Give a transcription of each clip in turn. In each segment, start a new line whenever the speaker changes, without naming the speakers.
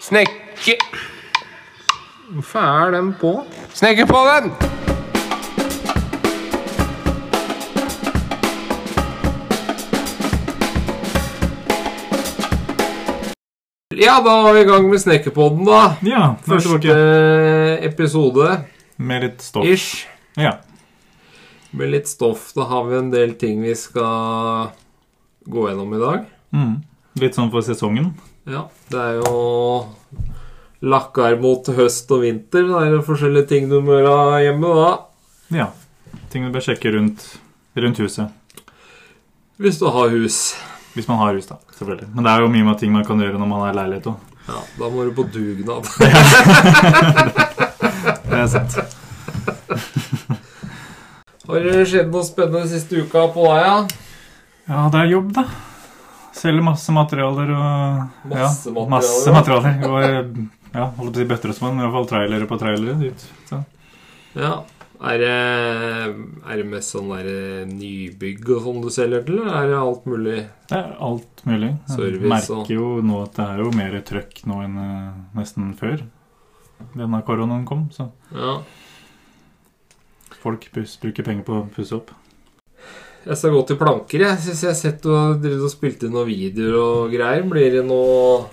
Snekke...
Hvorfor er den på?
Snekke på den! Ja, da var vi i gang med Snekkerpodden, da.
Ja, nå er vi
Første
tilbake
episode
med litt stoff.
ish.
Ja.
Med litt stoff. Da har vi en del ting vi skal gå gjennom i dag.
Mm. Litt sånn for sesongen.
Ja, det er jo lakkar mot høst og vinter. Det er jo forskjellige ting du må gjøre hjemme da.
Ja. Ting du bør sjekke rundt, rundt huset.
Hvis du har hus.
Hvis man har hus, da. selvfølgelig. Men det er jo mye mer ting man kan gjøre når man har leilighet òg.
Ja, Da må du på dugnad.
Det er sant.
Har det skjedd noe spennende siste uka på deg, ja?
Ja, det er jobb, da. Selger masse materialer og
Masse
ja,
materialer.
masse materialer. Og, eh, ja, holdt på å si bøtter og spann, men i hvert fall trailere på trailere. Dit. Så.
Ja. Er det, er det mest sånn der nybygg og sånn du selger til, eller er det alt mulig?
Det er alt mulig. Jeg
Service og-
merker jo nå at det er jo mer trøkk nå enn eh, nesten før denne koronaen kom. Så
Ja.
folk pus, bruker penger på å pusse opp.
Jeg skal gå til planker, jeg. Syns jeg har sett du har drevet og spilt inn noen videoer og greier. Blir det noe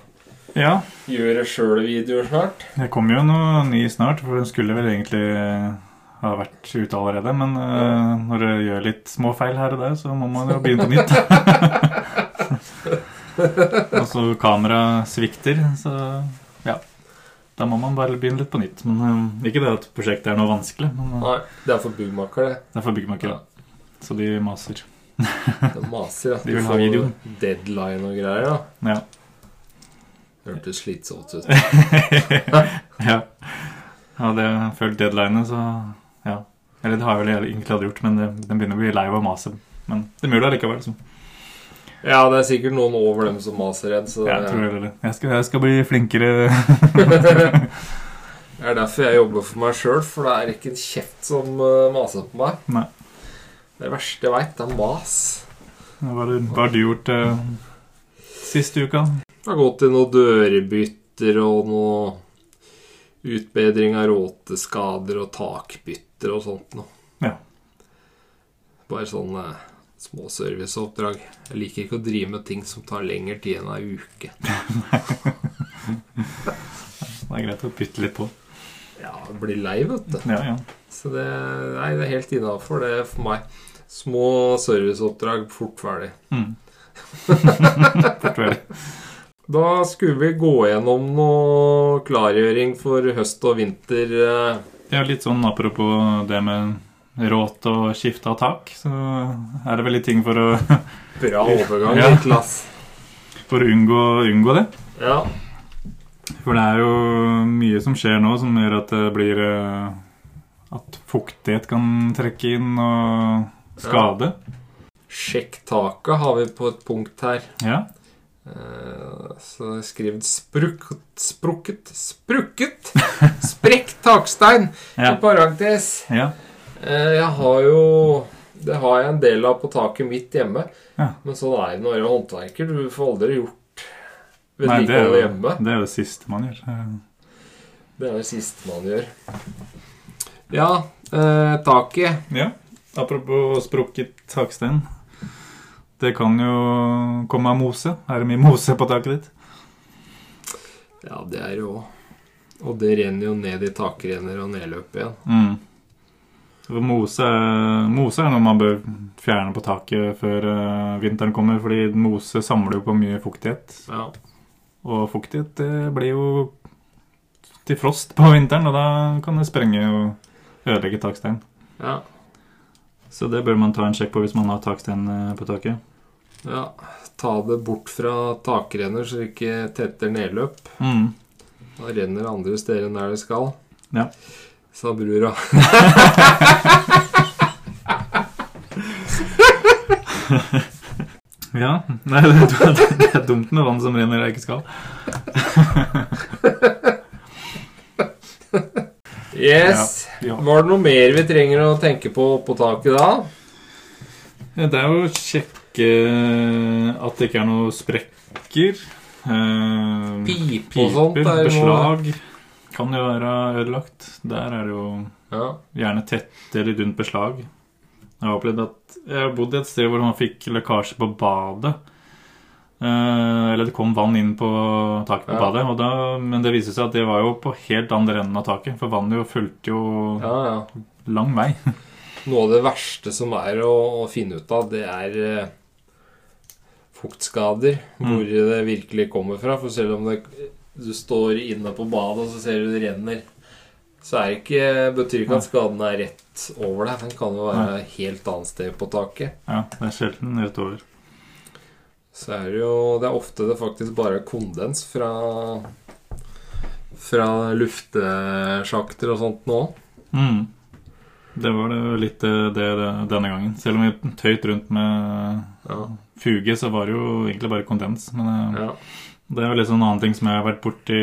Ja,
gjør det sjøl-videoer snart?
det kommer jo noe ny snart, for den skulle vel egentlig eh, ha vært ute allerede. Men eh, når du gjør litt små feil her og der, så må man jo begynne på nytt. og så kameraet svikter, så ja. Da må man bare begynne litt på nytt. Men eh, ikke det at prosjektet er noe vanskelig, men eh,
Nei. Det er for byggmaker, det.
det er for byggmakere. Så de maser.
Det maser, ja.
De vil ha videoen.
Deadline og greier, ja.
Ja.
Hørtes slitsomt ut.
ja. Hadde jeg følt deadlinet, så ja. Eller det har jeg vel egentlig hadde gjort, men det, den begynner å bli lei av å mase. Men det er mulig allikevel. Så.
Ja, det er sikkert noen over dem som maser en, så det
Jeg tror heller det. Jeg skal, jeg skal bli flinkere.
Det er derfor jeg jobber for meg sjøl, for det er ikke en kjeft som eh, maser på meg.
Nei.
Det verste jeg veit, er mas.
Hva har du- hva har du gjort eh, siste uka?
Jeg har gått til noen dørbytter og noe utbedring av råteskader og takbytter og sånt noe.
Ja.
Bare sånne små serviceoppdrag. Jeg liker ikke å drive med ting som tar lengre tid enn ei uke.
Det er greit å bytte litt på.
Ja, jeg blir lei, vet du.
Ja, ja.
Så det, nei, det er helt innafor, det er for meg. Små serviceoppdrag, fort ferdig.
Mm. Fort vel.
Da skulle vi gå gjennom noe klargjøring for høst og vinter. eh,
Det er jo litt sånn apropos det med råt og skifte av tak, så er det vel litt ting for å,
Bra overgang,
Ja.
Niklas.
for å unngå, unngå det.
Ja.
For det er jo mye som skjer nå som gjør at det blir eh, At fuktighet kan trekke inn og skade.
Sjekk taket har vi på et punkt her.
Ja.
Eh, Så det er skrevet sprukket, sprukket, sprukket! Sprekk takstein!
Ja.
I parentes.
ja.
Eh, Jeg har jo Det har jeg en del av på taket mitt hjemme.
Ja.
Men sånn er det når du er håndverker. Du får aldri gjort
Nei, det er,
vedlikeholdet
jo,
hjemme.
det er jo det siste man gjør. Eh,
Det er det siste man gjør. Ja, eh, taket.
Ja. Apropos sprukket takstein. Det kan jo komme av mose. Er det mye mose på taket ditt?
Ja, det er det òg. Og det renner jo ned i takrenner og nedløp igjen.
Mm. For Mose, mose er noe man bør fjerne på taket før eh, vinteren kommer, fordi mose samler jo på mye fuktighet.
Ja.
Og fuktighet det blir jo til frost på vinteren, og da kan det sprenge og ødelegge takstein.
ja.
Så det bør man ta en sjekk på hvis man har takstein eh, på taket.
ja. Ta det bort fra takrenner, så det ikke tetter nedløp.
Mm.
Da renner det andre steder enn der det skal.
Ja.
Sa brura.
Ja. Nei, det er, dumt, det er dumt med vann som renner der det ikke skal.
Yes.
Ja.
Var det noe mer vi trenger å tenke på på taket da?
Det er jo å sjekke at det ikke er noe sprekker. Eh,
Pipe og sånt
Piper,
er jo noe
beslag kan jo være ødelagt. Der er det jo
ja.
gjerne tett eller rundt beslag. Jeg har opplevd at jeg har bodd et sted hvor man fikk lekkasje på badet. Eh, eller det kom vann inn på taket på
Ja.
badet. Og da, men det viste seg at det var jo på helt andre enden av taket, for vannet jo fulgte jo
ja, ja.
lang vei.
Noe av det verste som er å, å finne ut av, det er eh, fuktskader. Hvor det virkelig kommer fra. For selv om det, du står inne på badet og så ser du det renner, så er det ikke, betyr ikke at skaden er rett over deg. Den kan jo være et helt annet sted på taket.
Ja, det er sjelden rett over.
Så er det jo Det er ofte det faktisk bare er kondens fra fra luftesjakter og sånt nå.
Mm. Det var det jo litt eh, det, det denne gangen. Selv om vi tøyt rundt med
Ja.
fuge, så var det jo egentlig bare kondens. Men eh,
ja.
det er jo liksom en annen ting som jeg har vært borti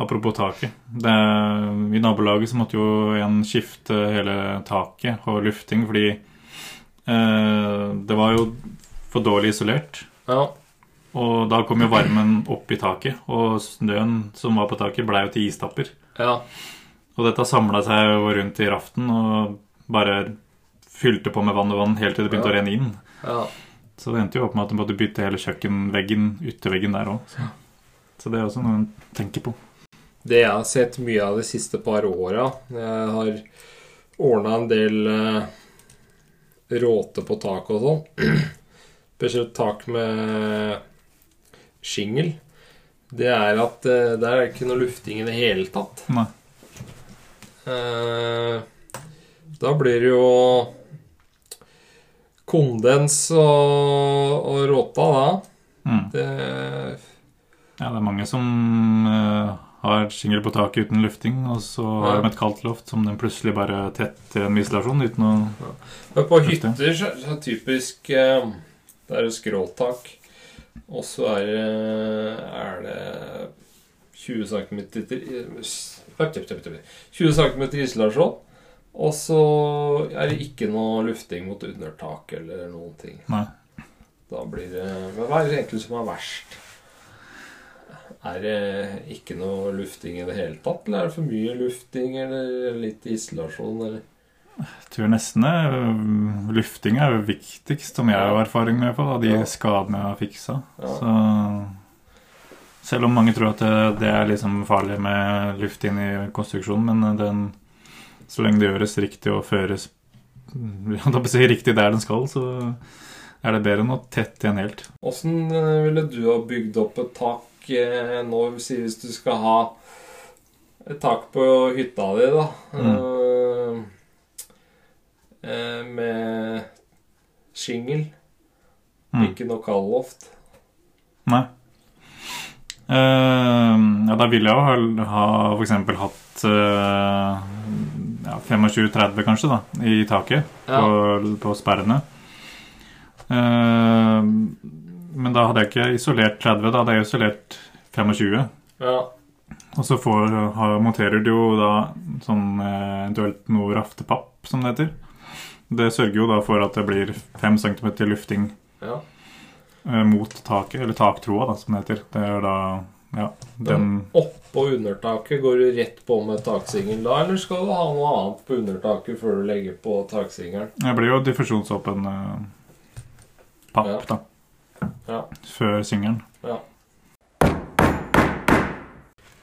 apropos taket. Det er, I nabolaget så måtte jo en skifte hele taket og lufting fordi eh, det var jo for dårlig isolert.
ja.
Og da kom jo varmen opp i taket, og snøen som var på taket, blei jo til istapper.
ja.
Og dette samla seg jo rundt i raften og bare fylte på med vann og vann helt til det begynte
Ja.
å renne inn.
ja.
Så det endte jo opp med at du måtte bytte hele kjøkkenveggen, ytterveggen der òg. Så. så det er også noe en tenker på.
Det jeg har sett mye av de siste par åra Jeg har ordna en del eh, råte på tak og sånn. Spesielt tak med shingel. Det er at eh, der er det ikke noe lufting i det hele tatt.
Nei.
Eh, Da blir det jo kondens og, og råta da.
Mm.
Det
Ja, det er mange som eh, har singel på taket uten lufting, og så har
Ja.
de et kaldt loft som den plutselig bare tetter med isolasjon uten å
Men på
Just det.
hytter så så er det typisk eh, Det er jo skråtak. Og så er, det- er det eh, 20 cm 20 cm isolasjon. Og så er det ikke noe lufting mot undertak eller noen ting.
Nei.
Da blir det Men hva er det egentlig som er verst? Er det ikke noe lufting i det hele tatt? Eller er det for mye lufting, eller litt isolasjon, eller
Jeg tror nesten eh, lufting er jo viktigst, som jeg har erfaring med, i hvert fall, av de
Ja.
skadene jeg har fiksa.
Ja.
Så selv om mange tror at det, det er liksom farlig med luft inn i konstruksjonen, men eh, den, så lenge det gjøres riktig og føres mm, jeg holdt på å si riktig der den skal, så er det bedre enn å tette igjen helt.
Åssen eh, ville du ha bygd opp et tak eh, nå, si hvis du skal ha et tak på hytta di, da? Eh, eh, med shingel,
Mm.
ikke noe kaldloft.
Nei. Eh, ja, da ville jeg jo ha, ha f.eks. hatt eh, ja, 25-30 kanskje, da, i taket.
Ja.
på, på sperrene. Eh, men da hadde jeg ikke isolert 30, da hadde jeg isolert 25.
ja.
Og så får, har, monterer du jo da sånn eh, eventuelt noe raftepapp, som det heter. Det sørger jo da for at det blir 5 cm lufting
ja.
eh, mot taket, eller taktroa, da, som det heter. Det er da ja, den
Oppå undertaket, går du rett på med taksingel da, eller skal du ha noe annet på undertaket før du legger på taksingelen?
Det blir jo diffusjonsåpen eh, papp,
Ja.
da.
Ja.
Før singelen.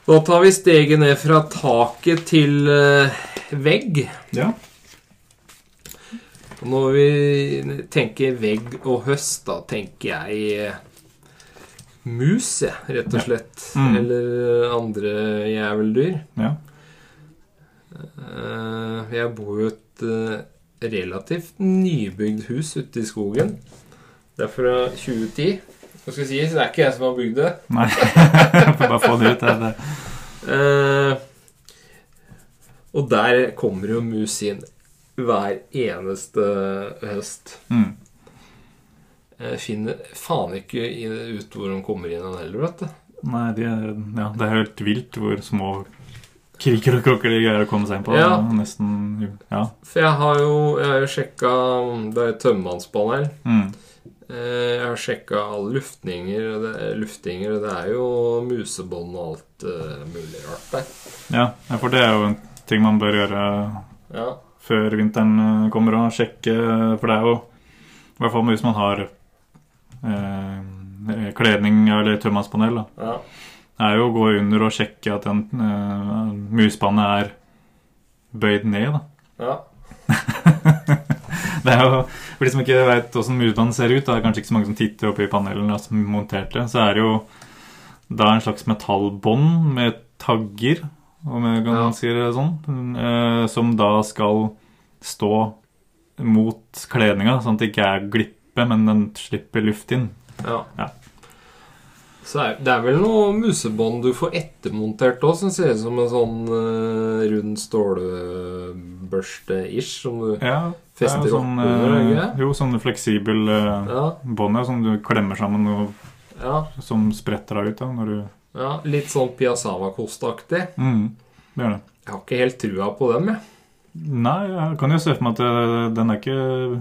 Da tar vi steget ned fra taket til eh, vegg.
Ja.
Og Når vi tenker vegg og høst, da tenker jeg eh, mus, jeg, rett
Ja.
og slett.
Mm.
Eller eh, andre jæveldyr.
ja.
Eh, Jeg bor jo i et eh, relativt nybygd hus ute i skogen. Det er fra 2010. Hva skal jeg si, så det er ikke jeg som har bygd det.
Nei, jeg får bare få det ut. Det, det.
Eh, Og der kommer jo mus inn hver eneste høst. Jeg
Mm.
Eh, finner faen ikke i- ut hvor de kommer inn han heller, vet du.
Nei, de er, ja, det er helt vilt hvor små kriker og krokker de greier å komme seg inn på.
Ja.
Det er Nesten, ja.
For jeg har jo, jeg har jo sjekka Det er jo tømmermannspanel. Eh,
Mm.
Eh, Jeg har sjekka alle luftninger, og det, luftinger, og det er jo musebånd og alt eh, mulig rart der.
Ja, ja, for det er jo en ting man bør gjøre
Ja.
før vinteren eh, kommer og sjekke, eh, for det er jo i hvert fall hvis man har eh, kledning eller tømmermannspanel, da.
ja.
Det er jo å gå under og sjekke at den eh, muspannet er bøyd ned, da.
ja.
Det er jo, For de som ikke veit åssen musbanen ser ut, det er kanskje ikke så mange som titter opp i panelene som er montert det, så er det jo da en slags metallbånd med tagger, om jeg kan
Ja.
si det sånn, eh, som da skal stå mot kledninga, sånn at det ikke er glippe, men den slipper luft inn.
Ja.
Ja.
Så er, det er vel noe musebånd du får ettermontert òg, som ser ut som en sånn eh, rund stålbørste-ish, som du
Ja, det er
fester
jo
opp
sånn,
under.
eh,
ikke?
jo, sånn fleksibel eh,
Ja,
bånd ja, som du klemmer sammen og
ja,
som spretter deg ut da, når du
ja. Litt sånn Piazzava-kostaktig.
mm, Det gjør det.
Jeg har ikke helt trua på dem, jeg.
Nei, jeg kan jo se for meg at eh, den er ikke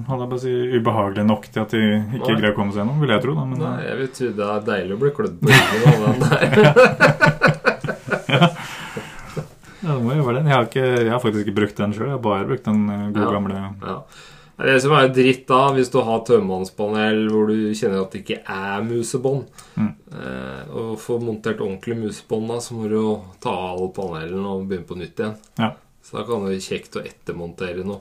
holdt jeg på å si, ubehagelig nok til at de ikke
Nei.
greier å komme seg gjennom, vil jeg tro. da, men eh,
Nei, jeg vil tro det er deilig å bli klødd på ryggen av den der.
Ja, det må jo være den. Jeg har, ikke, jeg har faktisk ikke brukt den sjøl. Jeg har bare brukt den eh, gode
Ja.
gamle
Ja. Det er Det som er dritt da, hvis du har tømmermannspanel hvor du kjenner at det ikke er musebånd
Mm.
eh, Og får montert ordentlig musebånd, da, så må du jo ta av alle panelene og begynne på nytt igjen.
Ja.
Så da kan det være kjekt å ettermontere noe.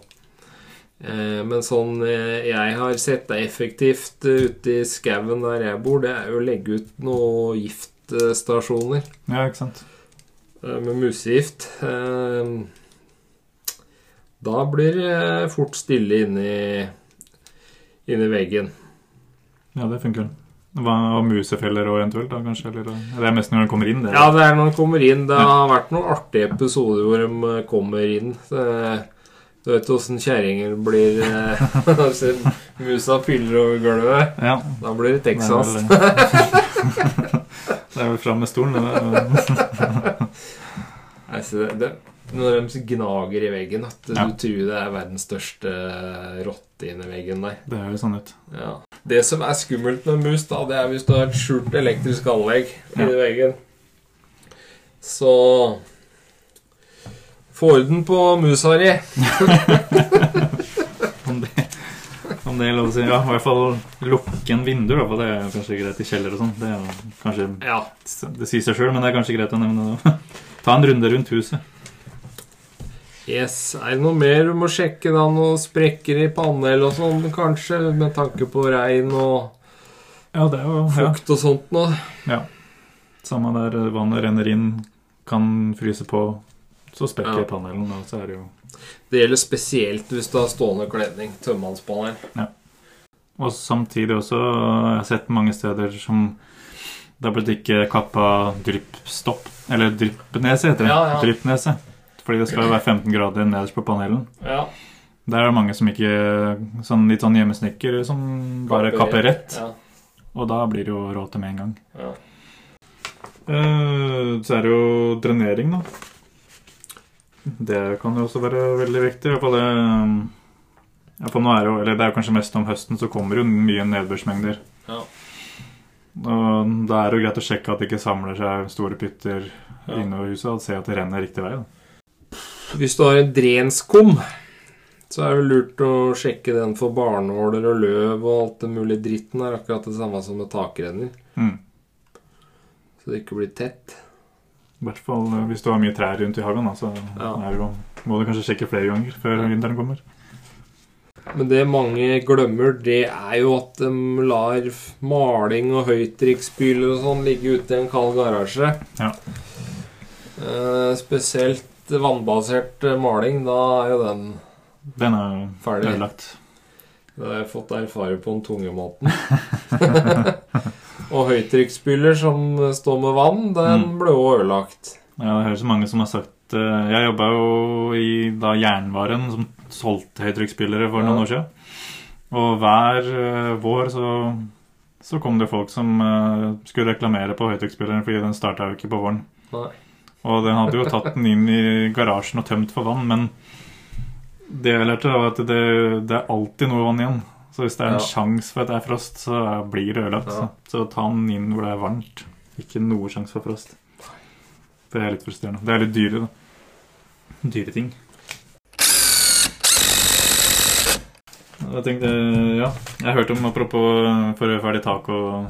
Eh, men sånn eh, jeg har sett det effektivt eh, ute i skauen der jeg bor, det er jo å legge ut noen giftstasjoner
Ja, ikke sant?
eh, med musegift. eh, Da blir det fort stille inni, inni veggen.
Ja, det funker. Hva, og musefeller og eventuelt, da kanskje? Eller, eh, det er mest når den kommer inn, det.
Ja, det er når de kommer inn. Det har vært noen artige episoder hvor de eh, kommer inn. Eh, Du vet åssen kjerringer blir eh, altså, Musa fyller over gulvet.
Ja,
Da blir det
det er
Texas.
vel- Det er vel fram med stolen. det er-
Nei, så det, det, når de gnager i veggen, at du
Ja.
tror det er verdens største rotte inni veggen der.
Det høres sånn ut.
Ja. Det som er skummelt med mus, da, det er hvis du har et skjult elektrisk anlegg inni veggen. Så få orden på musa di.
Om det, om det er lov å si. Ja, i hvert fall lukke en vindu, da, for det er kanskje greit i kjeller og sånn. Det, er jo kanskje-
Ja.
det sier seg sjøl, men det er kanskje greit å nevne det. Ta en runde rundt huset.
Yes. Er det noe mer du må sjekke? da? Noen sprekker i panel og sånn, kanskje? Med tanke på regn og
Ja, det er jo ja.
fukt og sånt noe?
Samme der eh, vannet renner inn, kan fryse på, så sprekker
Ja.
panelen, og så er det jo
Det gjelder spesielt hvis du har stående kledning. Tømmermannspanel.
Og samtidig også, jeg har sett mange steder som det har blitt ikke kappa dryppstopp, eller dryppnese heter det.
Ja, ja.
Dryppnese. Fordi det skal være 15 grader nederst på panelen.
Ja.
Der er det mange som ikke sånn Litt sånn hjemmesnekkere som bare kapper rett.
Ja.
Og da blir det jo råte med en gang.
Ja.
Eh, så er det jo drenering, da. Det kan jo også være veldig viktig. I hvert fall det i hvert fall nå er det jo, eller det er jo kanskje mest om høsten, så kommer jo mye nedbørsmengder.
Ja.
Og da er det jo greit å sjekke at det ikke samler seg store pytter
Ja.
innover huset, og se at det renner riktig vei. da.
Hvis du har en drenskum, så er det lurt å sjekke den for barnåler og løv og alt det mulige dritten er akkurat det samme som med takrenner.
Mm.
Så det ikke blir tett.
I hvert fall eh, hvis du har mye trær rundt i hagen, da, så
Ja.
er det jo, må du kanskje sjekke flere ganger før
Ja.
vinteren kommer.
Men det mange glemmer, det er jo at de lar f- maling og høytrykksspyler og sånn ligge ute i en kald garasje.
Ja.
Eh, spesielt vannbasert eh, maling. Da er jo den
Den er jo
Ferdig.
ødelagt.
Det har jeg fått erfare på den tunge måten. og høytrykksspyler som står med vann, den
Mm.
ble òg ødelagt.
Ja, jeg hører så mange som har sagt eh, Jeg jobba jo i da jernvaren som solgte høytrykksspillere for
Ja.
noen år siden. Og hver eh, vår så, så kom det folk som eh, skulle reklamere på høytrykksspilleren fordi den starta jo ikke på våren.
Nei.
Og den hadde jo tatt den inn i garasjen og tømt for vann, men det jeg lærte, var at det, det er alltid noe vann igjen. Så Så hvis det er en
Ja.
sjanse for at det er frost, så blir det ødelagt.
Ja.
Så. så ta den inn hvor det er varmt. Ikke noe sjanse for frost. Det er litt frustrerende. Det er litt dyre, da. Dyre ting. Jeg tenkte, ja Jeg hørte om apropos eh, forhøyferdig tak og,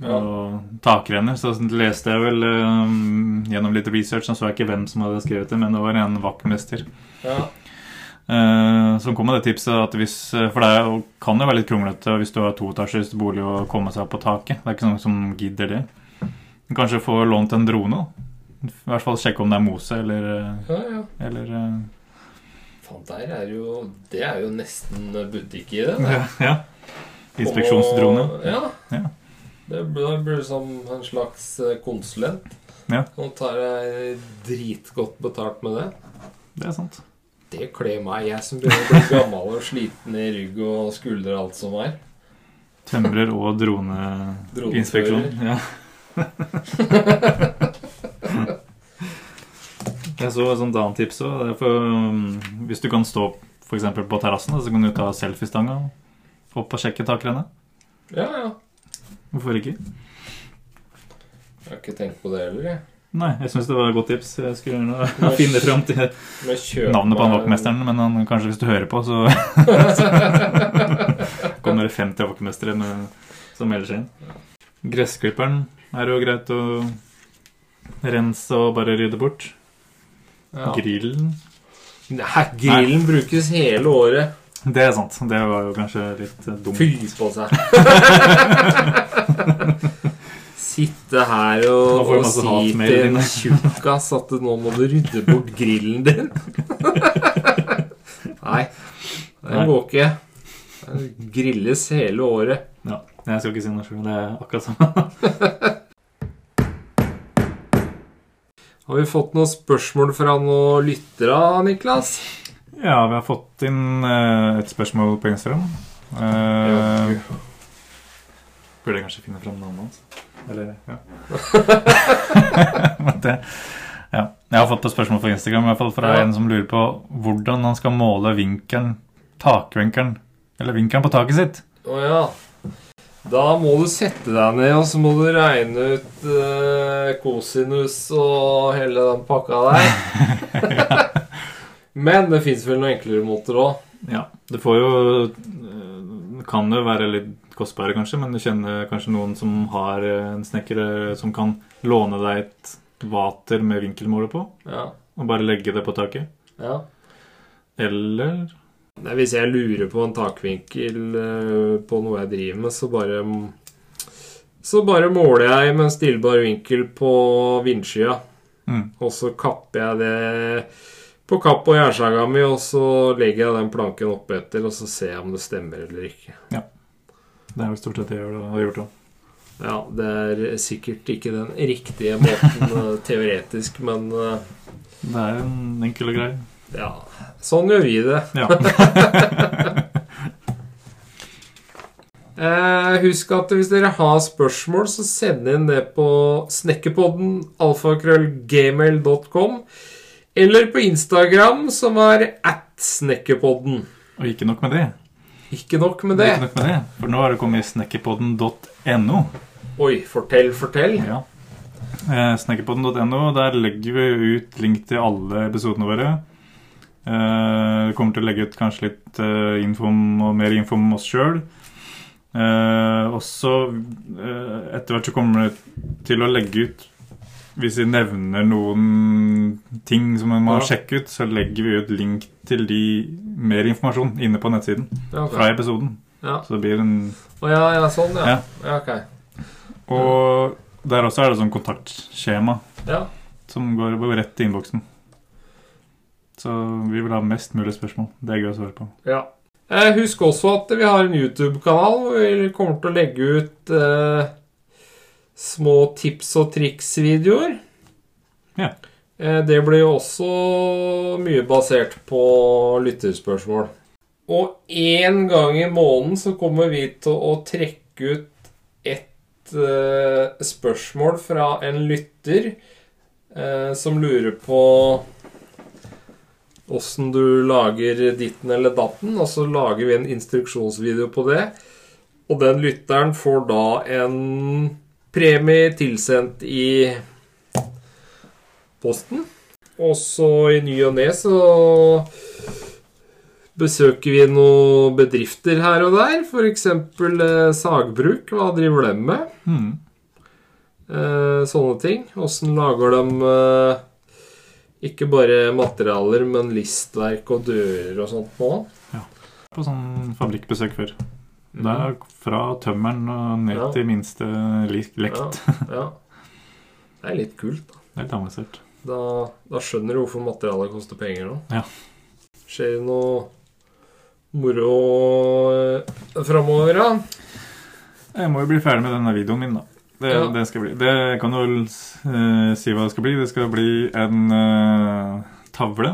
Ja.
og takrenner, så leste jeg vel eh, gjennom litt research, så så jeg ikke hvem som hadde skrevet det, men det var en vaktmester
Ja.
Eh, som kom med det tipset at hvis eh, For det er jo- kan jo være litt kronglete hvis du har toetasjes bolig og komme seg opp på taket. Det er ikke noen som gidder det. Men Kanskje få lånt en drone. da. I hvert fall sjekke om det er mose eller, eh,
Ja, ja.
eller eh,
Faen, der er jo Det er jo nesten butikk i det. der.
ja, eh, ja. Inspeksjonsdrone.
Og- Ja.
Ja.
Det blir, det blir som en slags eh, konsulent.
Ja.
Nå tar jeg dritgodt betalt med det.
Det er sant.
Det kler meg, jeg som begynner å bli gammel og sliten i rygg og skuldre og alt som er.
Tømrer og droneinspeksjon. Ja. Jeg så et sånt annet tips òg. Det er for, um, Hvis du kan stå for eksempel på terrassen, da, så kan du ta selfiestanga opp og sjekke takrennet.
Ja, ja.
Hvorfor ikke?
Jeg har ikke tenkt på det heller, jeg.
Nei, jeg syns det var et godt tips. Jeg skulle gjerne finne fram til
Men kjøp
navnet på
meg
han
en-
vaktmesteren, men han, kanskje hvis du hører på, så kommer det 50 vaktmestere med- som melder seg inn. Gressklipperen er jo greit å rense og bare rydde bort.
Ja.
Grillen
Nei, grillen brukes hele året.
Det er sant. Det var jo kanskje litt eh, dumt.
Fy på seg. Sitte her
Nå
og,
får du
og
masse
si
hatmail
til
inn.
en tjukkas at nå må du rydde bort grillen din. Nei, det
Nei.
går ikke. Det grilles hele året.
Ja, jeg skal ikke si noe sjøl. Det er akkurat samme.
Har vi fått noen spørsmål fra noen lyttere, Niklas?
Ja, vi har fått inn eh, et spørsmål på Instagram. Eh, Burde jeg kanskje finne fram navnet hans? Eller ja. Men det, ja. Jeg har fått et spørsmål på Instagram i hvert fall fra
Ja.
en som lurer på hvordan han skal måle vinkelen, takvinkelen, eller vinkelen på taket sitt.
Å ja. Da må du sette deg ned, og så må du regne ut eh, kosinus og hele den pakka der. Men det fins vel noen enklere måter òg.
Ja, det får jo eh, Kan jo være litt kostbare, kanskje, men du kjenner kanskje noen som har eh, en snekker eh, som kan låne deg et vater med vinkelmåler på,
Ja.
og bare legge det på taket.
ja.
Eller
Nei, hvis jeg lurer på en takvinkel eh, på noe jeg driver med, så bare Så bare måler jeg med en stillbar vinkel på vindskya,
mm,
og så kapper jeg det på kapp og jernsaga mi, og så legger jeg den planken opp etter, og så ser jeg om det stemmer eller ikke.
Det er vel stort sett det jeg gjør, og har gjort òg.
Ja, det er sikkert ikke den riktige måten eh, teoretisk, men eh,
Det er en enkel og grei.
ja. Sånn gjør vi det.
Ja.
Eh, husk at hvis dere har spørsmål, så send inn det på snekkerpodden alfakrøllgmail.com eller på Instagram, som er at snekkerpodden.
Og ikke nok med det.
Ikke nok med det.
Ikke nok med det. For nå har det kommet snekkerpodden.no.
Oi, fortell, fortell.
Ja. Eh, Snekkerpodden.no. Der legger vi ut link til alle episodene våre. Eh, vi kommer til å legge ut kanskje litt eh, info om, og mer info om oss sjøl. Eh, også eh, etter hvert så kommer det til å legge ut Hvis vi nevner noen ting som man må
Ja.
sjekke ut, så legger vi ut link til de mer informasjon inne på nettsiden
Ja, ok.
fra episoden.
Ja.
Så det blir en
Å ja, ja, sånn, ja.
Ja.
Ja, ok.
Og der også er det sånn kontaktskjema.
Ja.
som går over rett til innboksen. Så vi vil ha mest mulig spørsmål. Det er gøy å svare på.
Ja. Eh, Husk også at vi har en YouTube-kanal hvor vi kommer til å legge ut eh, små tips og triks-videoer.
Ja.
Eh, det blir jo også mye basert på lytterspørsmål. Og én gang i måneden så kommer vi til å trekke ut ett eh, spørsmål fra en lytter eh, som lurer på åssen du lager ditten eller datten, og så lager vi en instruksjonsvideo på det. Og den lytteren får da en premie tilsendt i posten. Og så i ny og ne så besøker vi noen bedrifter her og der. F.eks. sagbruk. Hva driver de med?
Mm.
Eh, sånne ting. Åssen lager de eh, ikke bare materialer, men listverk og dører og sånt nå?
På sånn fabrikkbesøk før.
Mhm.
Det er fra tømmeren og ned
Ja.
til minste lik- lekt.
Ja, ja. Det er litt kult. Da,
Helt avansert.
da, da skjønner du hvorfor materialet koster penger nå.
Ja.
Skjer det noe moro eh, framover, da?
Jeg må jo bli ferdig med denne videoen min, da. Det,
Ja.
det skal bli. Det jeg kan jo eh, si hva det skal bli. Det skal bli en eh, tavle.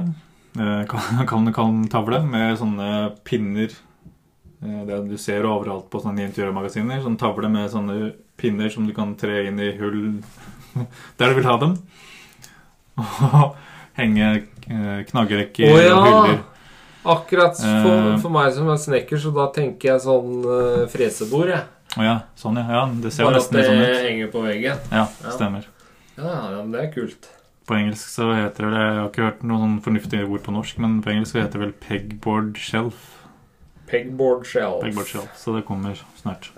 Eh, kan kan du kalle den tavle? Med sånne pinner. Eh, det du ser overalt på sånne interiørmagasiner. Sånn tavle med sånne pinner som du kan tre inn i hull der du vil ha dem. Og henge eh, knaggrekker
Å, ja.
og hyller.
Akkurat for,
Eh.
for meg som er snekker, så da tenker jeg sånn eh, fresebord, jeg.
Å ja, sånn ja. ja. Det ser jo
Bare at
nesten
det
litt sånn ut.
henger på veggen.
Ja,
Ja.
stemmer.
Ja, ja, men det er kult.
På engelsk så heter det Jeg har ikke hørt noen sånn fornuftige ord på norsk, men på engelsk så heter det vel pegboard shelf.
Pegboard shelf.
Pegboard shelf, Så det kommer snart.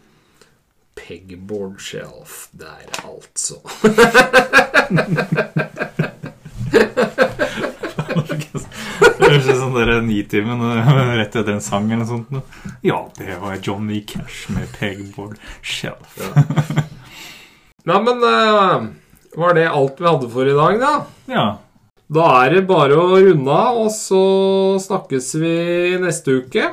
Pegboard shelf der, altså.
Det høres ut som dere Nitimen eh, rett etter en sang eller noe sånt. nå. Ja, det var Johnny Cash med pegboard shelf.
Nei, men eh, var det alt vi hadde for i dag, da?
Ja.
Da er det bare å runde av, og så snakkes vi neste uke.